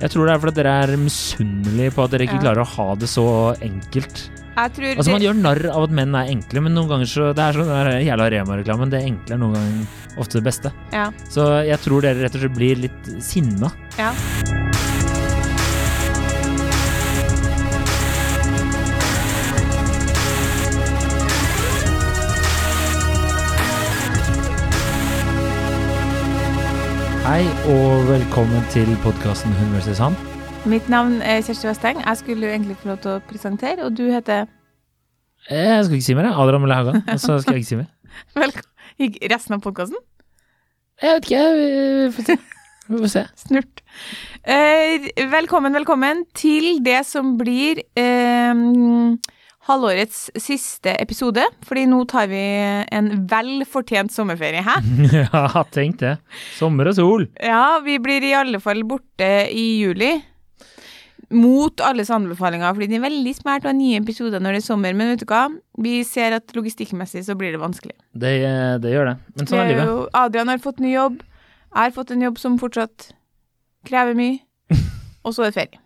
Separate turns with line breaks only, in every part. Jeg tror det er fordi dere er misunnelige på at dere ikke
Ja.
klarer å ha det så enkelt.
Jeg tror
Altså Man
det,
gjør narr av at menn er enkle, men noen ganger så Det er sånn den der jævla Rema-reklamen. Det enkle er noen ganger ofte det beste.
ja.
Så jeg tror dere rett og slett blir litt sinna.
Ja.
Hei og velkommen til podkasten Hun versus han.
Mitt navn er Kjersti Westeng. Jeg skulle jo egentlig få lov til å presentere, og du heter
Eh, Jeg skal ikke si mer, jeg. Adrian Mølle Haugan. Og så skal jeg ikke si mer.
Velkommen i resten av podkasten.
Jeg vet ikke, jeg. Vi får se. Vi får se.
Snurt. Eh, velkommen, velkommen til det som blir eh, halvårets siste episode. Fordi nå tar vi en vel fortjent sommerferie, hæ?
Mhm. ja, tenk det. Sommer og sol.
Ja, vi blir i alle fall borte i juli. Mot alles anbefalinger, fordi det er veldig smart å ha nye episoder når det er sommer. Men vet du hva? Vi ser at logistikkmessig så blir det vanskelig.
Det, det gjør det. Men sånn er
Vi er
livet.
jo- Adrian har fått ny jobb. Jeg har fått en jobb som fortsatt krever mye. Og så er det ferie.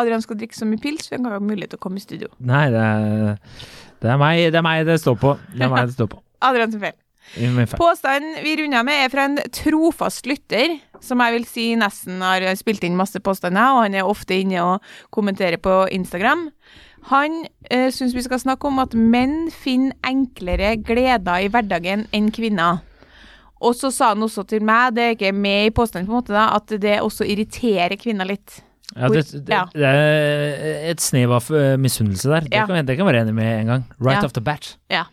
Adrian skal drikke så mye pils, for han har mulighet til å komme i studio.
Nei, det er, det er meg det er meg det står på. Det er meg det står på.
Adrian sin feil.
I min feil.
Påstanden vi runder med, er fra en trofast lytter, som jeg vil si nesten har spilt inn masse påstander, og han er ofte inne og kommenterer på Instagram. Han eh, syns vi skal snakke om at menn finner enklere gleder i hverdagen enn kvinner. Og så sa han også til meg, det er ikke med i påstanden, på en måte da, at det også irriterer kvinner litt.
Ja, det, det,
Ja.
det er et snev av eh, misunnelse der. Det
Ja.
kan, jeg- det kan jeg være enig med en gang. Right
Ja.
off the bat.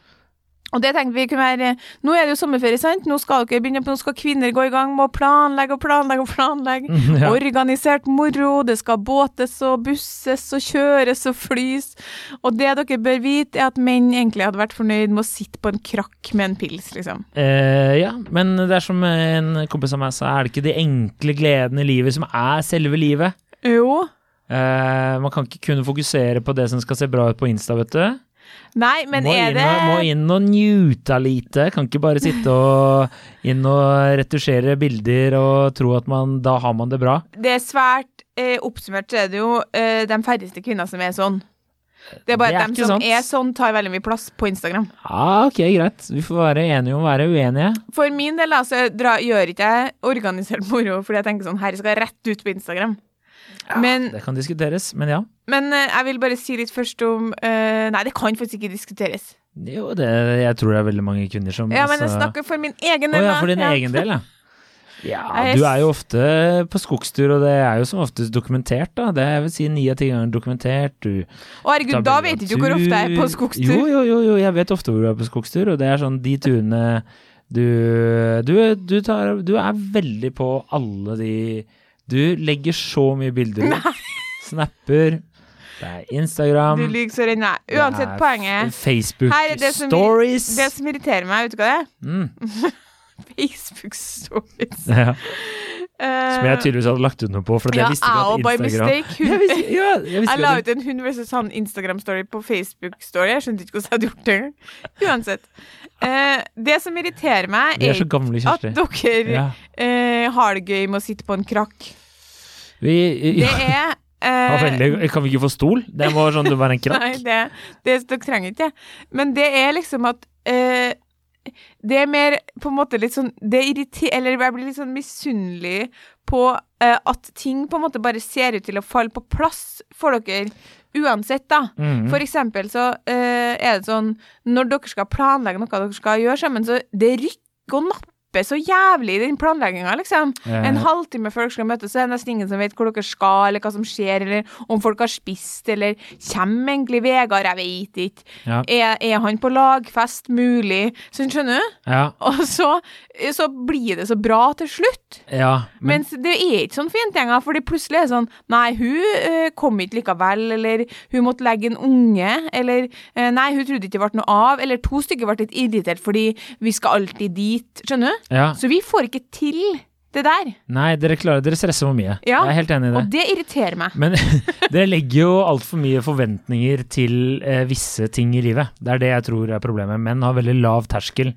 Og det tenkte vi kunne være Nå er det jo sommerferie, sant? Nå skal dere begynne på, nå skal kvinner gå i gang med å planlegge og planlegge og planlegge.
Ja.
Organisert moro, det skal båtes og busses og kjøres og flys. Og det dere bør vite, er at menn egentlig hadde vært fornøyd med å sitte på en krakk med en pils, liksom.
Eh, ja, men det er som en kompis av meg sa, er det ikke de enkle gledene i livet som er selve livet?
Jo.
Eh, man kan ikke kun fokusere på det som skal se bra ut på Insta, vet du.
Nei, men
må,
er
inn,
det
og- må inn og njute lite. Kan ikke bare sitte og inn og retusjere bilder og tro at man, da har man det bra.
Det er svært eh, oppsummert, så er det jo eh, de færreste kvinner som er sånn. Det er bare
Det er
at de
ikke
som
sant.
er sånn, tar veldig mye plass på Instagram.
Ja, ok, greit. Vi får være enige om å være uenige.
For min del, altså, dra, gjør ikke jeg organisert moro fordi jeg tenker sånn Her skal jeg rett ut på Instagram. men
Det kan diskuteres, men ja.
Men eh, jeg vil bare si litt først om eh, Nei, det kan faktisk ikke diskuteres.
Jo, det, jeg tror det er veldig mange kvinner som
Ja, men jeg
altså-
snakker for min
Å
egen del.
ja,
da.
for din
Ja.
egen del, ja. Ja,
Jeg-
du er jo ofte på skogstur, og det er jo som oftest dokumentert, da. Det er, jeg vil si ni av ti ganger dokumentert. Du
Å herregud,
tar
da
bilder av
vet du ikke hvor ofte jeg er på
tur.
skogstur.
Jo, jo, jo, jo, jeg vet ofte hvor du er på skogstur, og det er sånn de turene du, du, du, tar, du er veldig på alle de Du legger så mye bilder ut. Snapper. Det er Instagram.
Du lyver så renner jeg.
det er
Uansett, poenget
Facebook
Her er det som vi-
stories.
Det som irriterer meg, vet du hva det er?
Mm.
Facebook stories.
Ja,
Eh,
som jeg tydeligvis hadde lagt ut noe på, for det
ja,
visste ikke
jeg og by
at Instagram
mistake.
jeg
Hun,
visste, ja, jeg visste
jeg la
ikke at
ut en hund versus han Instagram-story på Facebook-story. Jeg skjønte ikke hvordan jeg hadde gjort det engang. Uansett. Eh, det som irriterer meg,
Vi
er
er så gamle,
at
Kjersti.
dere
Ja.
eh, har det gøy med å sitte på en krakk.
Vi
Det
ja,
er
var
eh,
veldig, Kan vi ikke få stol? Det var sånn du var en krakk.
Nei, det, det dere trenger ikke. Men det er liksom at eh, Det er mer på en måte litt sånn Det irriterer Eller jeg blir litt sånn misunnelig på eh, at ting på en måte bare ser ut til å falle på plass for dere. Uansett, da.
Mhm.
For eksempel så eh, er det sånn Når dere skal planlegge noe dere skal gjøre sammen, så det rykker og napper så jævlig i den planlegginga, liksom.
Eh.
En halvtime før dere skal møtes, så er det nesten ingen som vet hvor dere skal, eller hva som skjer, eller om folk har spist, eller kommer egentlig Vegard, jeg veit ikke.
Ja.
Er, er han på lagfest? Mulig. Så skjønner du?
Ja,
Og så, så blir det så bra til slutt.
ja, men
Mens det er ikke sånn for jentegjenger, fordi plutselig er det sånn Nei, hun eh, kom ikke likevel, eller hun måtte legge en unge, eller eh, Nei, hun trodde ikke det ble noe av, eller to stykker ble litt irritert fordi vi skal alltid dit, skjønner du?
ja.
Så vi får ikke til det der,
Nei, dere klarer Dere stresser for mye.
Ja.
Jeg er helt enig i det.
og det irriterer meg.
Men dere legger jo altfor mye forventninger til eh, visse ting i livet. Det er det jeg tror er problemet. Menn har veldig lav terskel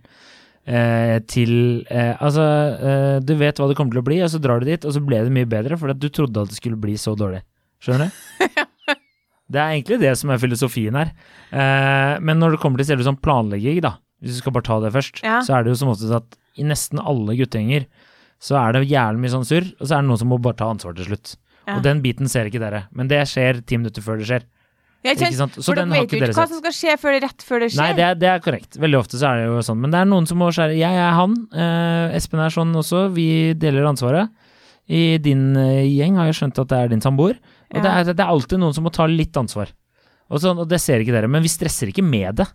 eh, til eh, Altså, eh, du vet hva det kommer til å bli, og så drar du dit, og så ble det mye bedre, fordi at du trodde at det skulle bli så dårlig. Skjønner du? Det er egentlig det som er filosofien her. Eh, men når det kommer til selve sånn planlegging, da, hvis du skal bare ta det først,
Ja.
så er det jo som oftest at i nesten alle guttegjenger så er det jævlig mye sånn surr, og så er det noen som må bare ta ansvar til slutt.
Ja.
Og den biten ser ikke dere, men det skjer ti minutter før det skjer.
Ja, ikke
Ikke
sant?
sant? Så
For
den
dere
har
vet
ikke
jo
dere
ikke hva
sett.
som skal skje før det rett før det
Nei,
skjer.
det er, det er korrekt. Veldig ofte så er det jo sånn. Men det er noen som må skjære Jeg er han. Eh, Espen er sånn også. Vi deler ansvaret. I din eh, gjeng har jeg skjønt at det er din samboer. Og det,
Ja.
er, det er alltid noen som må ta litt ansvar. Og, sånn, og det ser ikke dere. Men vi stresser ikke med det.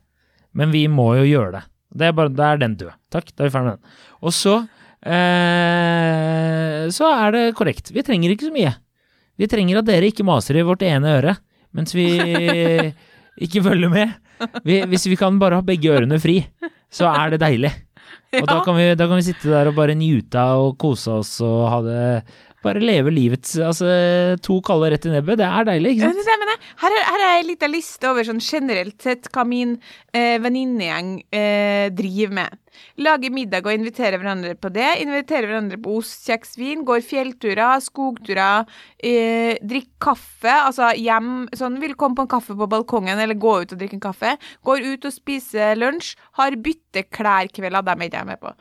Men vi må jo gjøre det. Det er bare, da er den død. Takk, da er vi ferdig med den. Og så eh, Så er det korrekt. Vi trenger ikke så mye. Vi trenger at dere ikke maser i vårt ene øre mens vi ikke følger med. Vi, hvis vi kan bare ha begge ørene fri, så er det deilig. Og da
Ja.
kan vi, da kan vi sitte der og bare njute og kose oss og ha det Bare leve livets Altså, to kalde rett i nebbet, det er deilig, ikke sant?
Ja, det er det jeg mener. Her er, her er ei lita liste over sånn generelt sett hva min eh, venninnegjeng eh, driver med. Lager middag og inviterer hverandre på det. Inviterer hverandre på ost, kjeks, vin. Går fjellturer, skogturer. Eh, drikker kaffe, altså hjem Sånn vil komme på en kaffe på balkongen eller gå ut og drikke en kaffe. Går ut og spiser lunsj. Har bytteklærkvelder, dem er ikke jeg med på.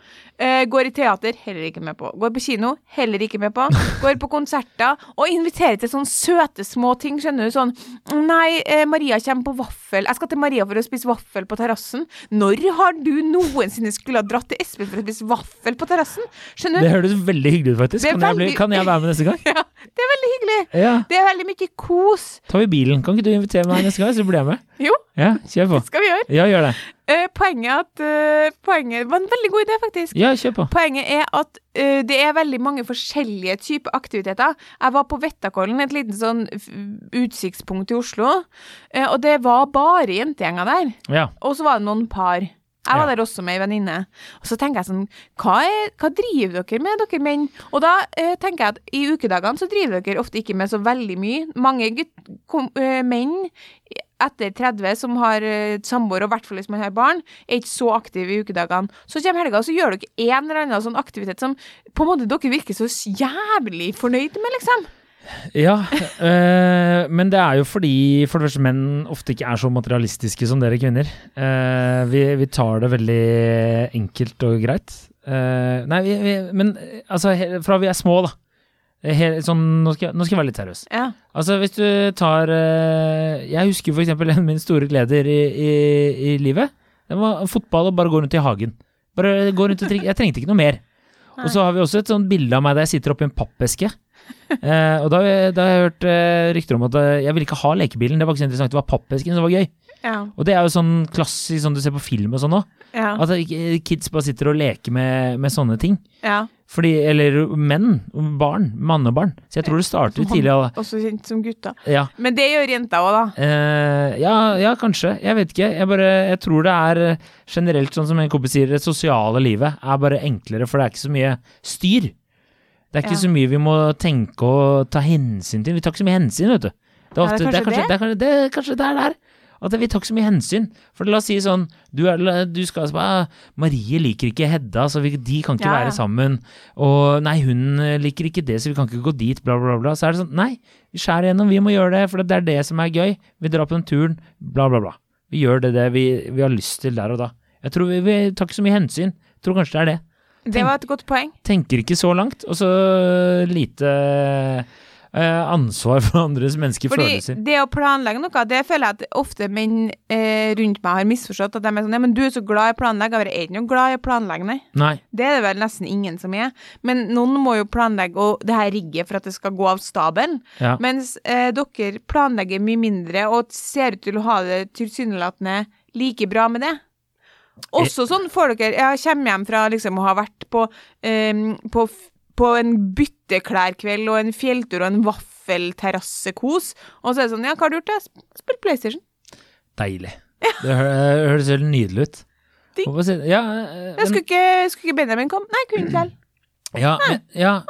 Eh, går i teater, heller ikke med på. Går på kino, heller ikke med på. Går på konserter, og inviterer til sånne søte små ting, skjønner du. Sånn Nei, eh, Maria kommer på vaffel. Jeg skal til Maria for å spise vaffel på terrassen. Når har du noensinne skulle ha dratt til Espen for å spise vaffel på terrassen? Skjønner
Det
du?
høres veldig hyggelig ut, faktisk.
Det er
Kan jeg, bli,
veldig-
kan jeg være med neste gang?
Ja, det er veldig hyggelig.
Ja.
Det er veldig mye kos.
Tar vi bilen? Kan ikke du invitere meg neste gang, så blir jeg med?
Jo,
Ja, kjør på.
skal vi gjøre.
Ja, gjør det.
Eh, poenget er at eh, Poenget var en veldig god idé, faktisk.
Ja, kjør på.
Poenget er at eh, det er veldig mange forskjellige typer aktiviteter. Jeg var på Vettakollen, et liten sånn f- utsiktspunkt i Oslo, eh, og det var bare jentegjenger der.
Ja.
Og så var det noen par. Jeg var
Ja.
der også med ei venninne. Og så tenker jeg sånn hva, er, hva driver dere med, dere menn? Og da eh, tenker jeg at i ukedagene så driver dere ofte ikke med så veldig mye. Mange gutt, kom, eh, menn etter 30 som har eh, samboer, og i hvert fall hvis man har barn, er ikke så aktive i ukedagene. Så kommer helga, og så gjør dere en eller annen sånn aktivitet som på en måte dere virker så jævlig fornøyd med, liksom.
Ja, eh, men det er jo fordi for det første menn ofte ikke er så materialistiske som dere kvinner. Eh, vi, vi tar det veldig enkelt og greit. Eh, nei, vi, vi, men eh, altså, he- fra vi er små, da. He- sånn, nå, skal jeg, nå skal jeg være litt seriøs.
Ja.
Altså, hvis du tar eh, Jeg husker for eksempel en av mine store gleder i, i, i livet. Det var fotball og bare gå rundt i hagen. Bare gå rundt og trik- Jeg trengte ikke noe mer.
Nei.
Og så har vi også et sånt bilde av meg der jeg sitter oppi en pappeske. Eh, og da, har jeg- da har jeg hørt eh, rykter om at eh, jeg ville ikke ha lekebilen. Det var ikke så interessant, det var pappesken som var gøy.
Ja.
Og det er jo sånn klassisk sånn du ser på film og sånn òg.
Ja.
At eh, kids bare sitter og leker med, med sånne ting.
ja.
Fordi, eller menn. Barn. Mannebarn. Så jeg tror det starter tidlig. alle-
Også kjent som gutter.
Ja.
Men det gjør jenter òg, da.
Eh, ja, ja, kanskje. Jeg vet ikke. Jeg, bare, jeg tror det er eh, generelt, sånn som en kompis sier, det sosiale livet er bare enklere, for det er ikke så mye styr. Det er ikke
Ja.
så mye vi må tenke og ta hensyn til. Vi tar ikke så mye hensyn, vet du. Det er,
Nei,
ofte,
det
det er
er kanskje
kanskje det er kanskje- det er kanskje der det er. At vi tar ikke så mye hensyn. For la oss si sånn, du, er, la- du skal altså bare ah, Marie liker ikke Hedda, så vi, de kan ikke
Ja, ja.
være sammen. Og nei, hun eh, liker ikke det, så vi kan ikke gå dit, bla, bla, bla. Så er det sånn, nei, vi skjærer gjennom, vi må gjøre det, for det er det som er gøy. Vi drar på den turen, bla, bla, bla. Vi gjør det, det vi, vi har lyst til der og da. Jeg tror vi, vi tar ikke så mye hensyn. Jeg tror kanskje det er det.
Det var et godt poeng.
Tenker ikke så langt, og så lite eh, ansvar for andres
Fordi
menneskefølelser.
det å planlegge noe, det føler jeg at ofte menn eh, rundt meg har misforstått. At de er sånn Ja, men du er så glad i å planlegge. Jeg bare, er ikke noe glad i å planlegge, nei.
Nei.
Det er det vel nesten ingen som er. Men noen må jo planlegge og det her rigget for at det skal gå av stabelen.
Ja.
Mens eh, dere planlegger mye mindre og ser ut til å ha det tilsynelatende like bra med det. Også
Eh.
sånn får dere Jeg kommer hjem fra liksom å ha vært på, eh, på, f- på en bytteklærkveld og en fjelltur og en vaffelterrassekos, og så er det sånn Ja, hva har du gjort? da? Sp- Spilt PlayStation.
Deilig. Det hø- eh, høres helt nydelig ut.
Digg.
Hvorfor sier- Ja, eh,
Jeg skulle ikke, skulle ikke Benjamin komme? Nei, kunne ikke likevel.
men, ja, men, ja,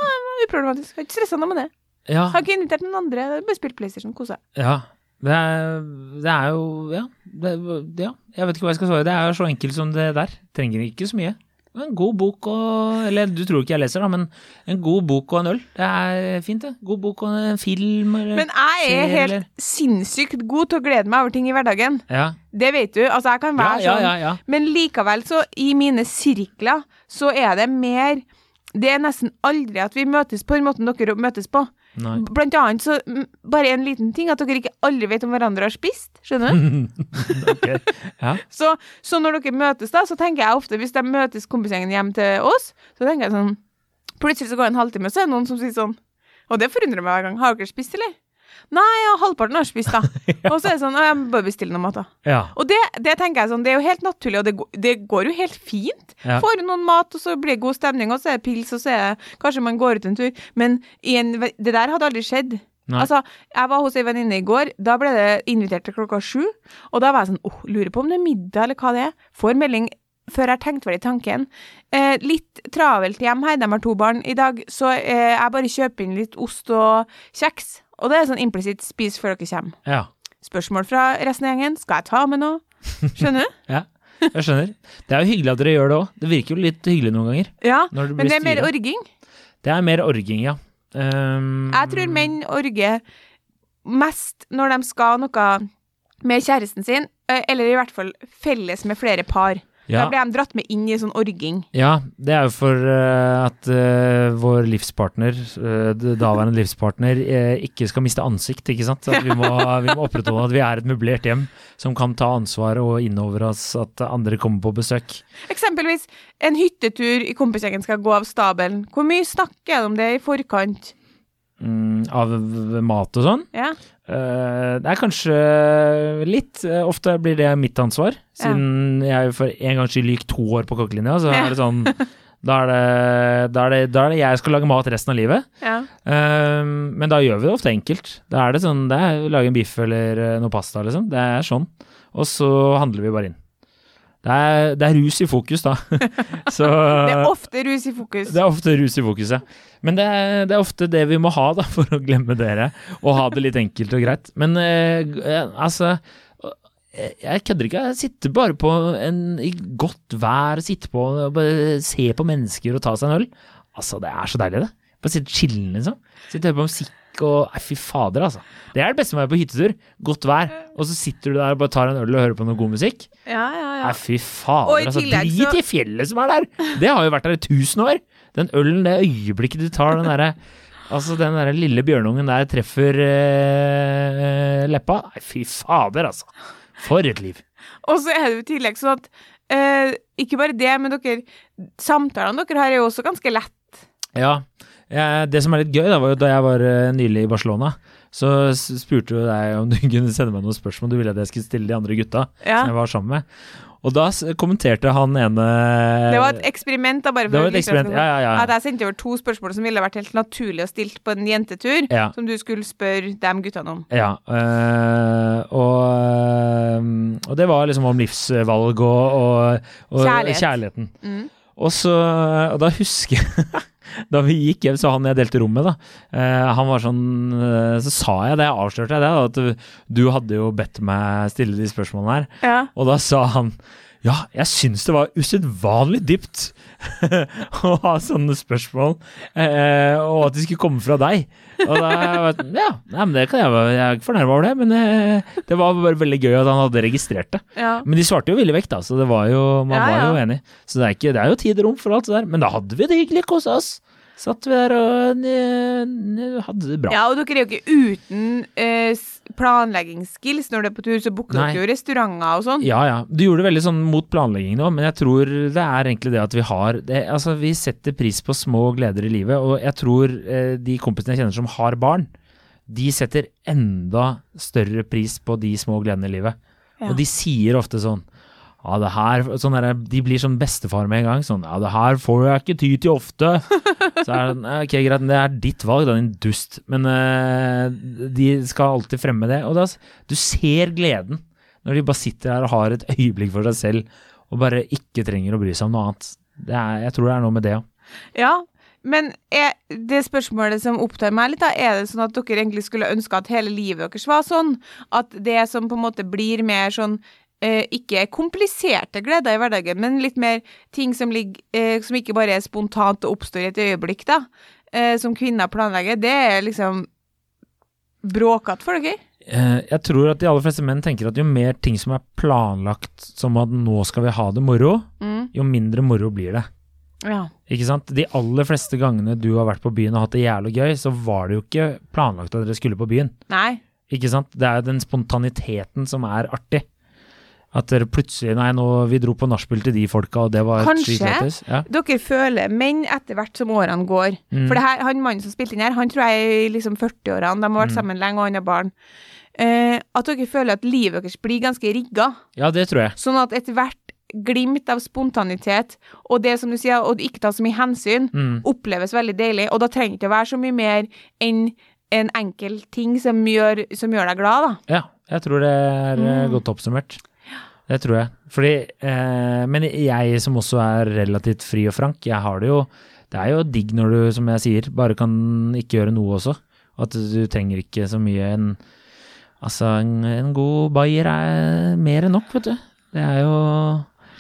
Uproblematisk. Har ikke stressa noe med det.
ja,
Har ikke invitert noen andre. Bare spilt PlayStation. Kosa.
ja. Det er, det er jo ja, det, ja. Jeg vet ikke hva jeg skal svare. Det er jo så enkelt som det der. Trenger ikke så mye. En god bok og Eller du tror ikke jeg leser, da, men en god bok og en øl. Det er fint, det. God bok og en film eller
Men jeg er
serier, eller-
helt sinnssykt god til å glede meg over ting i hverdagen.
ja.
Det vet du. Altså, jeg kan
Ja,
være
ja,
sånn.
ja, ja.
Men likevel, så i mine sirkler, så er det mer Det er nesten aldri at vi møtes på den måten dere møtes på.
Nei.
Blant annet så mm, Bare en liten ting, at dere ikke aldri vet om hverandre har spist. Skjønner du?
Ok. Ja.
Så, så når dere møtes, da, så tenker jeg ofte Hvis de møtes kompisgjengen hjem til oss, så tenker jeg sånn Plutselig så går det en halvtime, så er det noen som sier sånn Og det forundrer meg hver gang. Har dere spist, eller? Nei, ja, halvparten har spist, da. Og så er det sånn Å, jeg bør bestille noe mat, da.
ja.
Og det, det tenker jeg sånn, det er jo helt naturlig, og det, går- det går jo helt fint.
Ja.
Får noen mat, og så blir det god stemning, og så er det pils, og så er det Kanskje man går ut en tur. Men i en, ve- det der hadde aldri skjedd.
Nei.
Altså, jeg var hos ei venninne i går, da ble det invitert til klokka sju, og da var jeg sånn, åh, lurer på om det er middag, eller hva det er. Får melding før jeg tenkte vel i tanken. Eh, litt travelt hjem her, de har to barn i dag, så eh, jeg bare kjøper inn litt ost og kjeks. Og det er sånn implisitt spis før dere kommer
ja.
spørsmål fra resten av gjengen. Skal jeg ta med noe? Skjønner du?
Ja. Jeg skjønner. Det er jo hyggelig at dere gjør det òg. Det virker jo litt hyggelig noen ganger.
Ja,
Når det blir
men det er mer
styret.
orging.
Det er mer orging, ja. Ehm,
Jeg tror menn orger mest når de skal noe med kjæresten sin, eh, eller i hvert fall felles med flere par.
ja.
Da blir de dratt med inn i sånn orging.
Ja, det er jo for eh, at eh, vår livspartner, eh, d- daværende livspartner, eh, ikke skal miste ansikt, ikke sant? At vi, må, vi må opprettholde at vi er et møblert hjem som kan ta ansvar og innover oss at andre kommer på besøk.
Eksempelvis en hyttetur i kompisgjengen skal gå av stabelen. Hvor mye snakker jeg om det i forkant?
Mm, av v- mat og sånn.
Ja,
Eh, det er kanskje litt. eh, ofte blir det mitt ansvar, siden jeg for en gangs skyld gikk to år på kokkelinja. Så
Ja.
er det sånn da er det, da, er det, da er det jeg skal lage mat resten av livet.
ja.
Ehm, men da gjør vi det ofte enkelt. Da er det sånn, det er lage en biff eller eh, noe pasta, liksom. Det er sånn. Og så handler vi bare inn. Det er, det er rus i fokus, da. så
Det er ofte rus i fokus.
Eh, det er ofte rus i fokus, ja. Men det er, det er ofte det vi må ha da, for å glemme dere, og ha det litt enkelt og greit. Men eh, g- eh, altså eh, jeg kødder ikke, jeg sitter bare på en, i godt vær og sitter på og bare se på mennesker og ta seg en øl. Altså, det er så deilig, det. Bare sitte chillen, liksom. Sitte og høre på musikk og Nei, fy fader, altså. Det er det beste med å være på hyttetur. Godt vær, og så sitter du der og bare tar en øl og hører på noe god musikk.
Ja, ja, ja.
Nei, fy
Og i
fader, altså.
tillegg så-
Drit i fjellet som er der! Det har jo vært der i tusen år. Den ølen, det øyeblikket du tar den derre Altså, den derre lille bjørnungen der treffer eh, leppa. Nei, fy fader, altså. For et liv.
Og så er det jo i tillegg sånn at eh, ikke bare det, men dere, samtalene dere har er jo også ganske lett.
Ja. eh, Det som er litt gøy, da, var jo da jeg var eh, nylig i Barcelona, så s- spurte jo deg om du kunne sende meg noen spørsmål du ville at jeg skulle stille de andre gutta
Ja.
som jeg var sammen med. Og da s- kommenterte han ene
Det var et eksperiment, da, bare
Det var et
å vise deg
eksperiment, ja, ja, ja.
at jeg sendte over to spørsmål som ville vært helt naturlig å stilt på en jentetur,
Ja.
som du skulle spørre dem guttene om.
Ja, øh, og, øh, og det var liksom om livsvalg og, og, og
Kjærlighet.
kjærligheten.
Mm.
Og, så, og da husker jeg Da vi gikk hjem, så han jeg delte rom med, da, eh, han var sånn eh, Så sa jeg det, jeg avslørte jeg det, da, at du, du hadde jo bedt meg stille de spørsmålene her.
Ja.
Og da sa han ja, jeg syns det var usedvanlig dypt å ha sånne spørsmål, eh, og at de skulle komme fra deg. Og da var jeg sånn, Ja, nei, men det kan jeg være, jeg er ikke fornærma over det, men eh, det var bare veldig gøy at han hadde registrert det.
ja.
Men de svarte jo villig vekk, da, så det var jo, man
Ja,
var
ja.
jo enig. Så det er, ikke, det er jo tid og rom for alt det der, men da hadde vi det hyggelig, kosa oss. Satt vi der og eh, eh, hadde det bra.
Ja, og dere er jo ikke uten eh, s- planleggingsskills når dere er på tur, så booker
Nei.
dere jo restauranter og sånn.
Ja, ja. Du gjorde det veldig sånn mot planleggingen òg, men jeg tror det er egentlig det at vi har det, Altså, vi setter pris på små gleder i livet, og jeg tror eh, de kompisene jeg kjenner som har barn, de setter enda større pris på de små gledene i livet.
Ja.
Og de sier ofte sånn ja, det her, sånn der, De blir sånn bestefar med en gang. Sånn, ja, det her får jeg ikke ty til ofte. Så er det sånn, «Ja, ok, greit, men det er ditt valg, da, din dust. Men eh, de skal alltid fremme det. Og da, s- du ser gleden når de bare sitter her og har et øyeblikk for seg selv, og bare ikke trenger å bry seg om noe annet. Det er, jeg tror det er noe med det òg.
Ja, men er det spørsmålet som opptar meg litt, da, er det sånn at dere egentlig skulle ønske at hele livet deres var sånn? At det som på en måte blir mer sånn eh, ikke kompliserte gleder i hverdagen, men litt mer ting som, ligger, eh, som ikke bare er spontant og oppstår i et øyeblikk, da, eh, som kvinner planlegger, det er liksom bråkete for dere.
Eh, Jeg tror at de aller fleste menn tenker at jo mer ting som er planlagt som at nå skal vi ha det moro,
Mm.
jo mindre moro blir det.
Ja.
Ikke sant? De aller fleste gangene du har vært på byen og hatt det jævlig gøy, så var det jo ikke planlagt at dere skulle på byen.
Nei.
Ikke sant? Det er jo den spontaniteten som er artig. At dere plutselig Nei, nå, vi dro på nachspiel til de folka, og det var
Kanskje.
skitlættis. Ja.
Dere føler menn etter hvert som årene går.
Mm.
For det her, han mannen som spilte inn her, han tror jeg er i liksom 40-årene, de har
Mm.
vært sammen lenge og han har barn. Eh, at dere føler at livet deres blir ganske rigga.
ja, det tror jeg.
Sånn at ethvert glimt av spontanitet og det som du sier, og ikke ta så mye hensyn,
Mm.
oppleves veldig deilig. Og da trenger det ikke å være så mye mer enn en enkel ting som gjør, som gjør deg glad, da.
Ja, jeg tror det er eh,
Mm.
godt oppsummert. Det tror jeg. Fordi, eh, men jeg som også er relativt fri og frank, jeg har det jo Det er jo digg når du, som jeg sier, bare kan ikke gjøre noe også. At du trenger ikke så mye en Altså, en, en god bayer er mer enn nok, vet du. Det er jo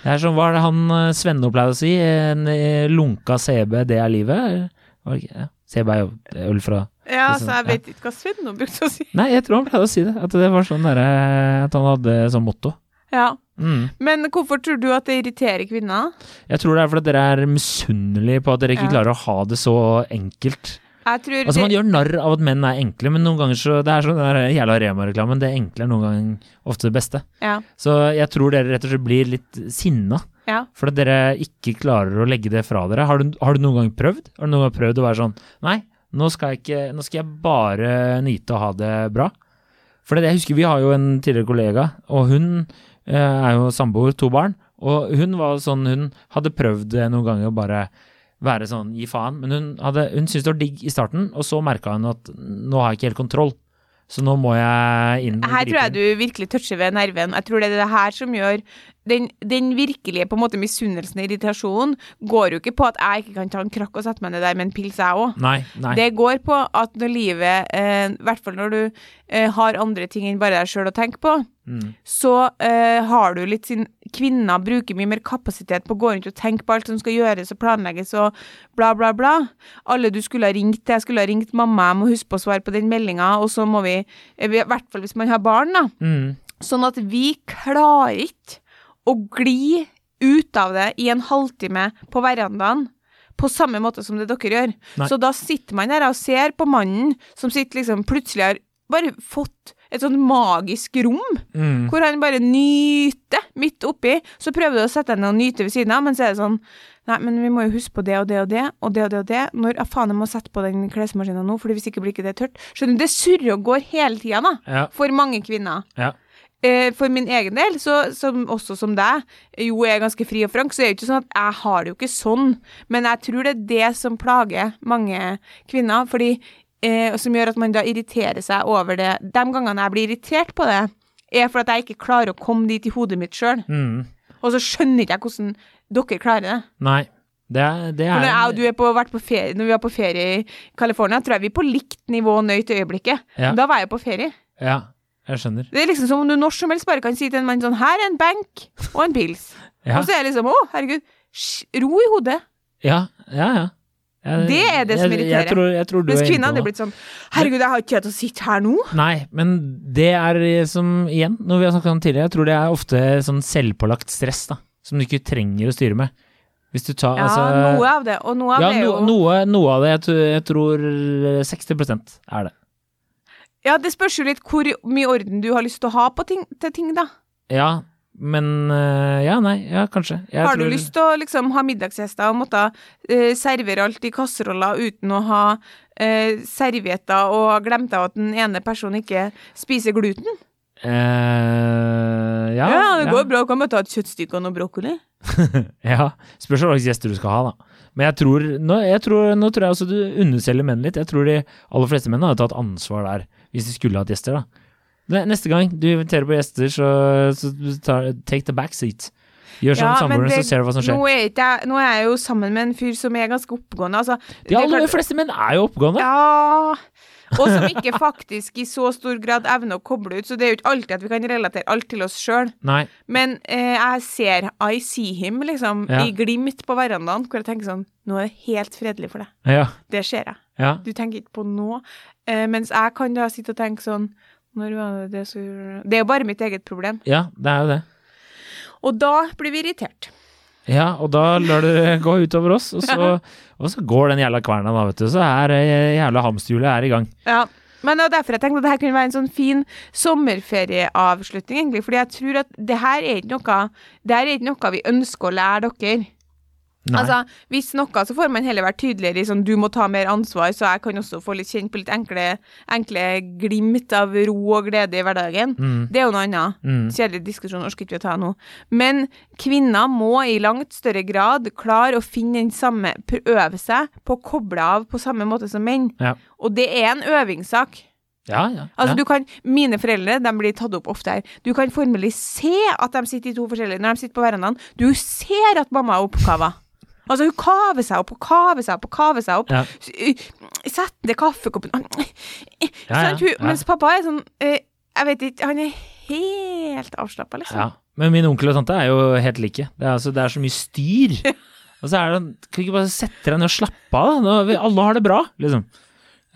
Det er som hva er det han eh, Svenne pleide å si? En eh, lunka CB, det er livet? Var det ikke- ja, CB er jo øl fra
Ja,
Det er
altså,
sånn, så jeg ja.
ikke hva Sven brukte å si.
Nei, jeg tror han pleide å si det. At det var sånn derre At han hadde sånn motto.
Ja.
Mm.
Men hvorfor tror du at det irriterer kvinner?
Jeg tror det er fordi dere er misunnelige på at dere ikke
Ja.
klarer å ha det så enkelt.
Jeg tror
Altså Man
det,
gjør narr av at menn er enkle, men noen ganger så Det er sånn den der jævla Rema-reklamen. Det enkle er noen ganger ofte det beste.
ja,
Så jeg tror dere rett og slett blir litt sinna
ja.
fordi dere ikke klarer å legge det fra dere. Har du, har du noen gang prøvd? Har du noen gang prøvd å være sånn Nei, nå skal jeg, ikke, nå skal jeg bare nyte og ha det bra. For det er det jeg husker, vi har jo en tidligere kollega, og hun eh, er jo samboer, to barn. Og hun var sånn, hun hadde prøvd eh, noen ganger å bare være sånn gi faen, men hun, hadde, hun syntes det var digg i starten, og så merka hun at nå har jeg ikke helt kontroll, så nå må jeg inn og
Her tror
gripe
jeg
inn.
du virkelig toucher ved nerven. Jeg tror det er det her som gjør den, den virkelige på en måte misunnelsen og irritasjonen går jo ikke på at jeg ikke kan ta en krakk og sette meg ned der med en pils, jeg òg.
Nei, nei.
Det går på at når livet, eh, i hvert fall når du eh, har andre ting enn bare deg sjøl å tenke på,
Mm.
så eh, har du litt sin Kvinner bruker mye mer kapasitet på å gå rundt og tenke på alt som skal gjøres og planlegges og bla, bla, bla. Alle du skulle ha ringt til, jeg skulle ha ringt mamma, jeg må huske på å svare på den meldinga, og så må vi eh, I hvert fall hvis man har barn, da.
Mm.
Sånn at vi klarer ikke å gli ut av det i en halvtime på verandaen på samme måte som det dere gjør.
Nei.
Så da sitter man der og ser på mannen som sitter liksom plutselig har bare fått et sånt magisk rom,
Mm.
hvor han bare nyter midt oppi. Så prøver du å sette deg ned og nyte ved siden av, men så er det sånn Nei, men vi må jo huske på det og det og det, og det og det og det. Når ah, faen jeg må sette på den klesmaskinen nå, for hvis ikke blir ikke det tørt. Skjønner du, det surrer og går hele tida, da
Ja,
for mange kvinner.
Ja.
Eh, for min egen del, så, som, også som deg, jo jeg er ganske fri og frank, så er det jo ikke sånn at jeg har det jo ikke sånn. Men jeg tror det er det som plager mange kvinner, fordi, eh, og som gjør at man da irriterer seg over det. De gangene jeg blir irritert på det, er for at jeg ikke klarer å komme dit i hodet mitt sjøl.
mm.
Og så skjønner ikke jeg hvordan dere klarer det.
Nei. Det er, det er
For når jeg og du er på, vært på ferie, når vi var på ferie i California, tror jeg vi er på likt nivå nøyt øyeblikket.
Ja.
Men Da var jeg på ferie.
Ja, jeg skjønner.
Det er liksom som om du når som helst bare kan si til en mann sånn Her er en benk og en pils.
Ja,
Og så er det liksom Å, herregud. sj, Ro i hodet.
ja, ja. ja. Jeg-
Det er det som
jeg- Jeg,
irriterer.
tror, jeg tror du
Mens
er
kvinner
inne på
hadde
noe.
blitt sånn Herregud, jeg har ikke tid til å sitte her nå.
Nei, men det er som igjen, når vi har snakket om det tidligere, jeg tror det er ofte sånn selvpålagt stress, da. Som du ikke trenger å styre med. Hvis du tar
Ja,
altså
noe av det. Og noe av
ja,
det er jo
no, noe, noe av det. Jeg, tr- jeg tror 60 er det.
Ja, det spørs jo litt hvor mye orden du har lyst til å ha på ting, til ting, da.
Ja, men eh, Ja, nei, ja, kanskje. Jeg
Har du
tror-
lyst til å liksom ha middagsgjester og måtte eh, servere alt i kasseroller uten å ha eh, servietter og ha glemt av at den ene personen ikke spiser gluten?
Eh, ja,
Ja, det går bra. Kan bare ta et kjøttstykke og noe brokkoli.
Ja, spørs hva slags gjester du skal ha, da. Men jeg tror, nå, jeg tror, nå tror jeg også du underselger menn litt. Jeg tror de aller fleste menn hadde tatt ansvar der, hvis de skulle hatt gjester, da. Ne- Neste gang du inviterer på gjester, så, så tar, take the back seat. Gjør sånn
Ja, men
samboeren,
det-
så ser du hva som skjer.
Nå er, ikke jeg, nå er jeg jo sammen med en fyr som er ganske oppegående. Altså,
De
det er
aller
klart-
fleste menn er jo oppegående.
Ja og som ikke faktisk i så stor grad evner å koble ut. Så det er jo ikke alltid at vi kan relatere alt til oss sjøl.
Nei.
Men eh, jeg ser I see him, liksom,
Ja.
i glimt på verandaen, hvor jeg tenker sånn Nå er det helt fredelig for deg.
Ja.
Det ser jeg.
Ja.
Du tenker ikke på noe. Eh, mens jeg kan da sitte og tenke sånn Når var det det som gjorde Det er jo bare mitt eget problem.
ja, det er jo det.
Og da blir vi irritert.
Ja, og da lar det gå utover oss, og så, og så går den jævla kverna, da, vet du. Så er eh, jævla hamsterhjulet er i gang.
Ja. Men det var derfor jeg tenkte at dette kunne være en sånn fin sommerferieavslutning, egentlig. Fordi jeg tror at det her er ikke noe, det her er ikke noe vi ønsker å lære dere.
Nei.
Altså, hvis noe, så får man heller være tydeligere i sånn du må ta mer ansvar, så jeg kan også få litt kjent på litt enkle, enkle glimt av ro og glede i hverdagen.
mm,
Det er jo noe annet.
mm.
Kjedelig diskusjon orker ikke vi å ta nå. Men kvinner må i langt større grad klare å finne den samme Prøve seg på å koble av på samme måte som menn.
Ja.
Og det er en øvingssak.
Ja, ja. ja.
Altså, du kan, Mine foreldre de blir tatt opp ofte her. Du kan formelig se at de sitter i to forskjellige Når de sitter på verandaen. Du ser at mamma er oppkava. Altså, hun kaver seg opp og kaver seg opp og kaver seg opp.
Ja.
S- eh, Sett ned kaffekoppen eh,
Ja, ja,
Sant? Hun,
ja.
Mens pappa er sånn eh, Jeg vet ikke Han er helt avslappa, liksom.
Ja. Men min onkel og tante er jo helt like. Det er, altså, det er så mye styr. Og så er det Kan du ikke bare sette deg ned og slappe av, da? Nå, vi, alle har det bra, liksom.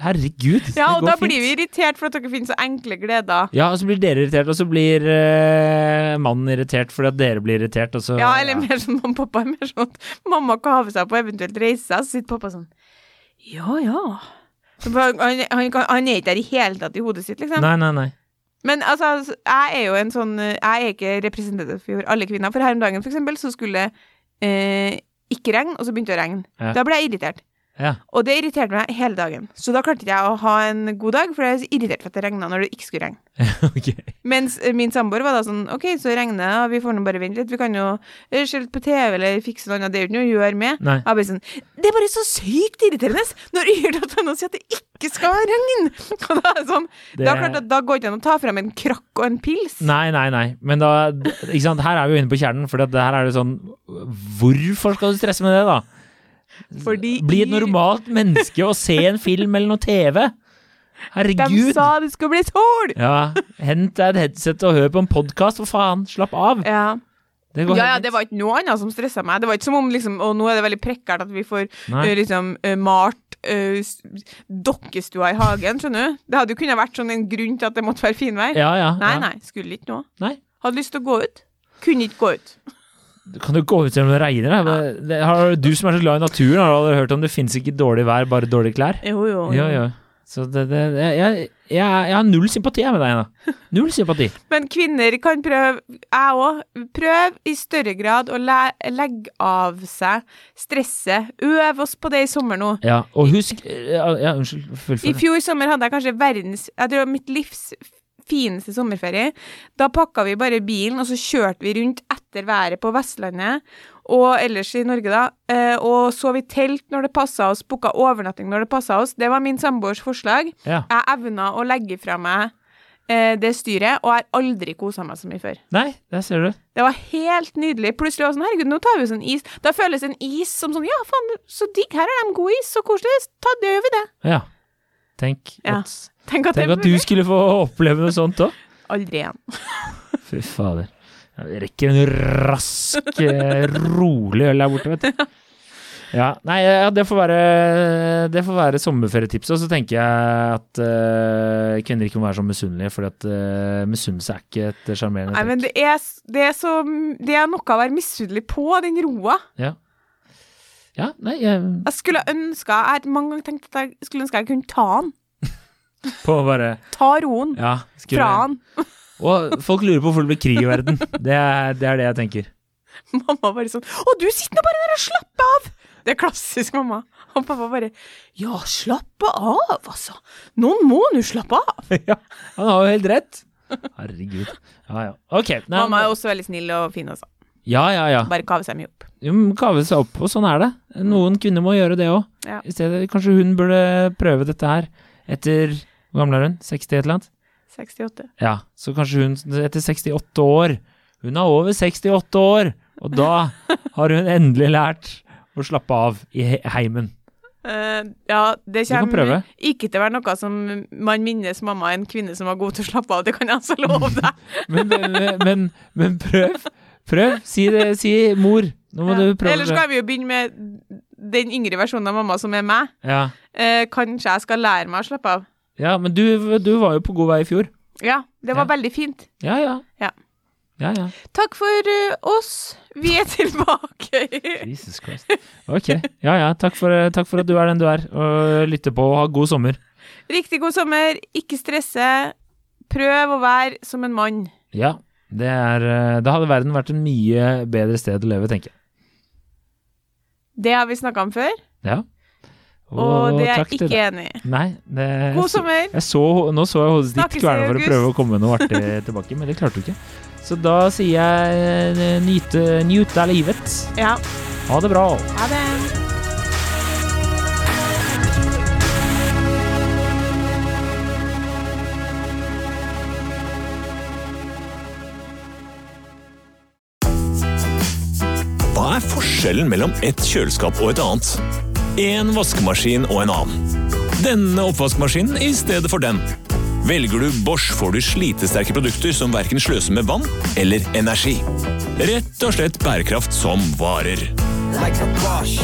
Herregud.
Ja,
det
og
går
da
fint.
blir vi irritert for at dere finner så enkle gleder.
Ja, og så blir dere irritert, og så blir eh, mannen irritert fordi at dere blir irritert, og så
Ja, eller mer sånn mamma og pappa er mer sånn at mamma kaver seg på eventuelt reise seg, så sitter pappa sånn Ja, ja. Så bare- Han, han, kan- han er ikke der i hele tatt i hodet sitt, liksom.
Nei, nei, nei.
Men altså, altså, jeg er jo en sånn eh, Jeg er ikke representativ for alle kvinner. For her om dagen, for eksempel, så skulle eh, ikke regne, og så begynte det å regne.
Ja.
Da ble jeg irritert.
Ja.
Og det irriterte meg hele dagen. Så da klarte ikke jeg å ha en god dag, for jeg var så irritert for at det regna når det ikke skulle regne.
ok.
Mens eh, min samboer var da sånn OK, så regner det, og vi får nå bare vente litt. Vi kan jo eh, se litt på TV eller fikse noe annet. Det er jo ikke noe å gjøre med.
Nei.
Jeg bare sånn Det er bare så sykt irriterende når yrdatene sier at det ikke skal regne! Og da er det sånn
Det-
Da er det klart at da går det ikke an å ta frem en krakk og en pils.
Nei, nei, nei. Men da Ikke sant, her er vi jo inne på kjernen, for at her er det sånn Hvorfor skal du stresse med det, da?
Fordi
Bli et normalt menneske og se en film eller noe TV.
De
Herregud.
sa det skulle bli sol!
Ja, hent deg et headset og hør på en podkast, for faen. Slapp av.
Ja.
Det
ja, ja,
helt
det
fint.
var ikke noe annet som stressa meg. Det var ikke som om liksom Og nå er det veldig prekært at vi får
Nei.
eh, liksom eh, malt eh, s- dokkestua i hagen, skjønner du. Det hadde jo kunnet vært sånn en grunn til at det måtte være finvær.
Ja, ja.
Nei,
ja.
nei, skulle ikke nå.
Nei.
Hadde lyst til å gå ut. Kunne ikke gå ut.
Du Kan du gå ut selv om det regner? da? Men det- Har du som er så glad i naturen, har du aldri hørt om det fins ikke dårlig vær, bare dårlige klær?
Jo, jo.
Ja, ja. Så det, det jeg, jeg, jeg, jeg har null sympati jeg, med deg, da. Null sympati.
Men kvinner kan prøve, jeg òg, prøv i større grad å le legge av seg stresset. Øv oss på det i sommer nå.
Ja, og husk Ja, ja unnskyld. Fullfør.
I fjor sommer hadde jeg kanskje verdens Jeg tror mitt livs fineste sommerferie. Da pakka vi bare bilen, og så kjørte vi rundt etter været på Vestlandet og ellers i Norge, da. eh, Og sov i telt når det passa oss, booka overnatting når det passa oss. Det var min samboers forslag.
Ja.
Jeg evna å legge fra meg eh, det styret, og jeg har aldri kosa meg så mye før.
Nei, der ser du.
Det var helt nydelig. Plutselig var det sånn, herregud, nå tar vi oss en is. Da føles en is som sånn, ja, faen, så digg, her er de god is, så koselig, ta det, gjør vi det.
Ja. Tenk,
Ja.
At,
Tenk at,
tenk
det
at du skulle få oppleve noe sånt òg.
Aldri igjen.
Fy fader. Jeg rekker en rask, eh, rolig øl der borte, vet du. Ja, nei, ja, det får være, det får være sommerferietipset. Og så tenker jeg at eh, kvinner ikke må være så misunnelige, for uh, misunnelse er ikke et sjarmerende
Nei, men det er, s- det er så, det er noe å være misunnelig på, den roa.
trekk. Ja, nei, jeg,
Jeg skulle ønske, jeg har mange ganger tenkt at jeg skulle ønske jeg kunne ta den.
på å bare
Ta roen
Ja. skulle-
fra han.
Og folk lurer på hvorfor det blir krig i verden. Det er det, er det jeg tenker.
Mamma bare sånn, å, du sitter nå bare der og slapper av. Det er klassisk, mamma. Og pappa bare, ja, slappe av, altså. Noen må nå slappe av.
ja, han har jo helt rett. Herregud. Ja, ja. Ok. Nei,
Mamma er også veldig snill og fin, altså.
ja, ja, ja.
Bare kave seg mye opp.
Jo, men Kave seg opp, og sånn er det. Noen kvinner må gjøre det òg.
Mm. Ja.
I stedet, Kanskje hun burde prøve dette her etter Hvor gammel er hun? 60 et eller annet?
68.
Ja, så kanskje hun etter 68 år Hun er over 68 år, og da har hun endelig lært å slappe av i he- heimen.
Eh, ja, det
Du kan
kommer
prøve.
ikke til å være noe som man minnes mamma er en kvinne som var god til å slappe av, det kan jeg altså love deg.
Men, men, men, men prøv. Prøv. Si, det, si mor. Nå må du prøve.
Eller
det.
skal vi jo begynne med den yngre versjonen av mamma som er meg.
Ja.
Eh, kanskje jeg skal lære meg å slappe av.
ja, men du, du var jo på god vei i fjor.
Ja, det var
Ja.
veldig fint.
Ja, ja.
Ja.
ja, ja.
Takk for eh, oss. Vi er tilbake.
Jesus Christ. Ok. Ja, ja. Takk for, eh, takk for at du er den du er, og lytter på, og ha god sommer.
Riktig god sommer. Ikke stresse. Prøv å være som en mann.
Ja. Det er, eh, da hadde verden vært en mye bedre sted å leve, tenker jeg.
Det har vi snakka om før,
Ja.
og det er
takk
jeg
til
ikke enig i.
deg. Nei, det,
God sommer.
Jeg så, nå så jeg hodet ditt
Snakkes i
kverna for å
august.
prøve å komme med noe artig tilbake, men det klarte du ikke. Så da sier jeg eh, nyte, nyte av livet.
Ja,
Ha det bra.
ha det.
Hva er forskjellen mellom et kjøleskap og et annet? En vaskemaskin og en annen. Denne oppvaskmaskinen i stedet for den. Velger du Bosch, får du slitesterke produkter som verken sløser med vann eller energi. Rett og slett bærekraft som varer.
like a Bosch.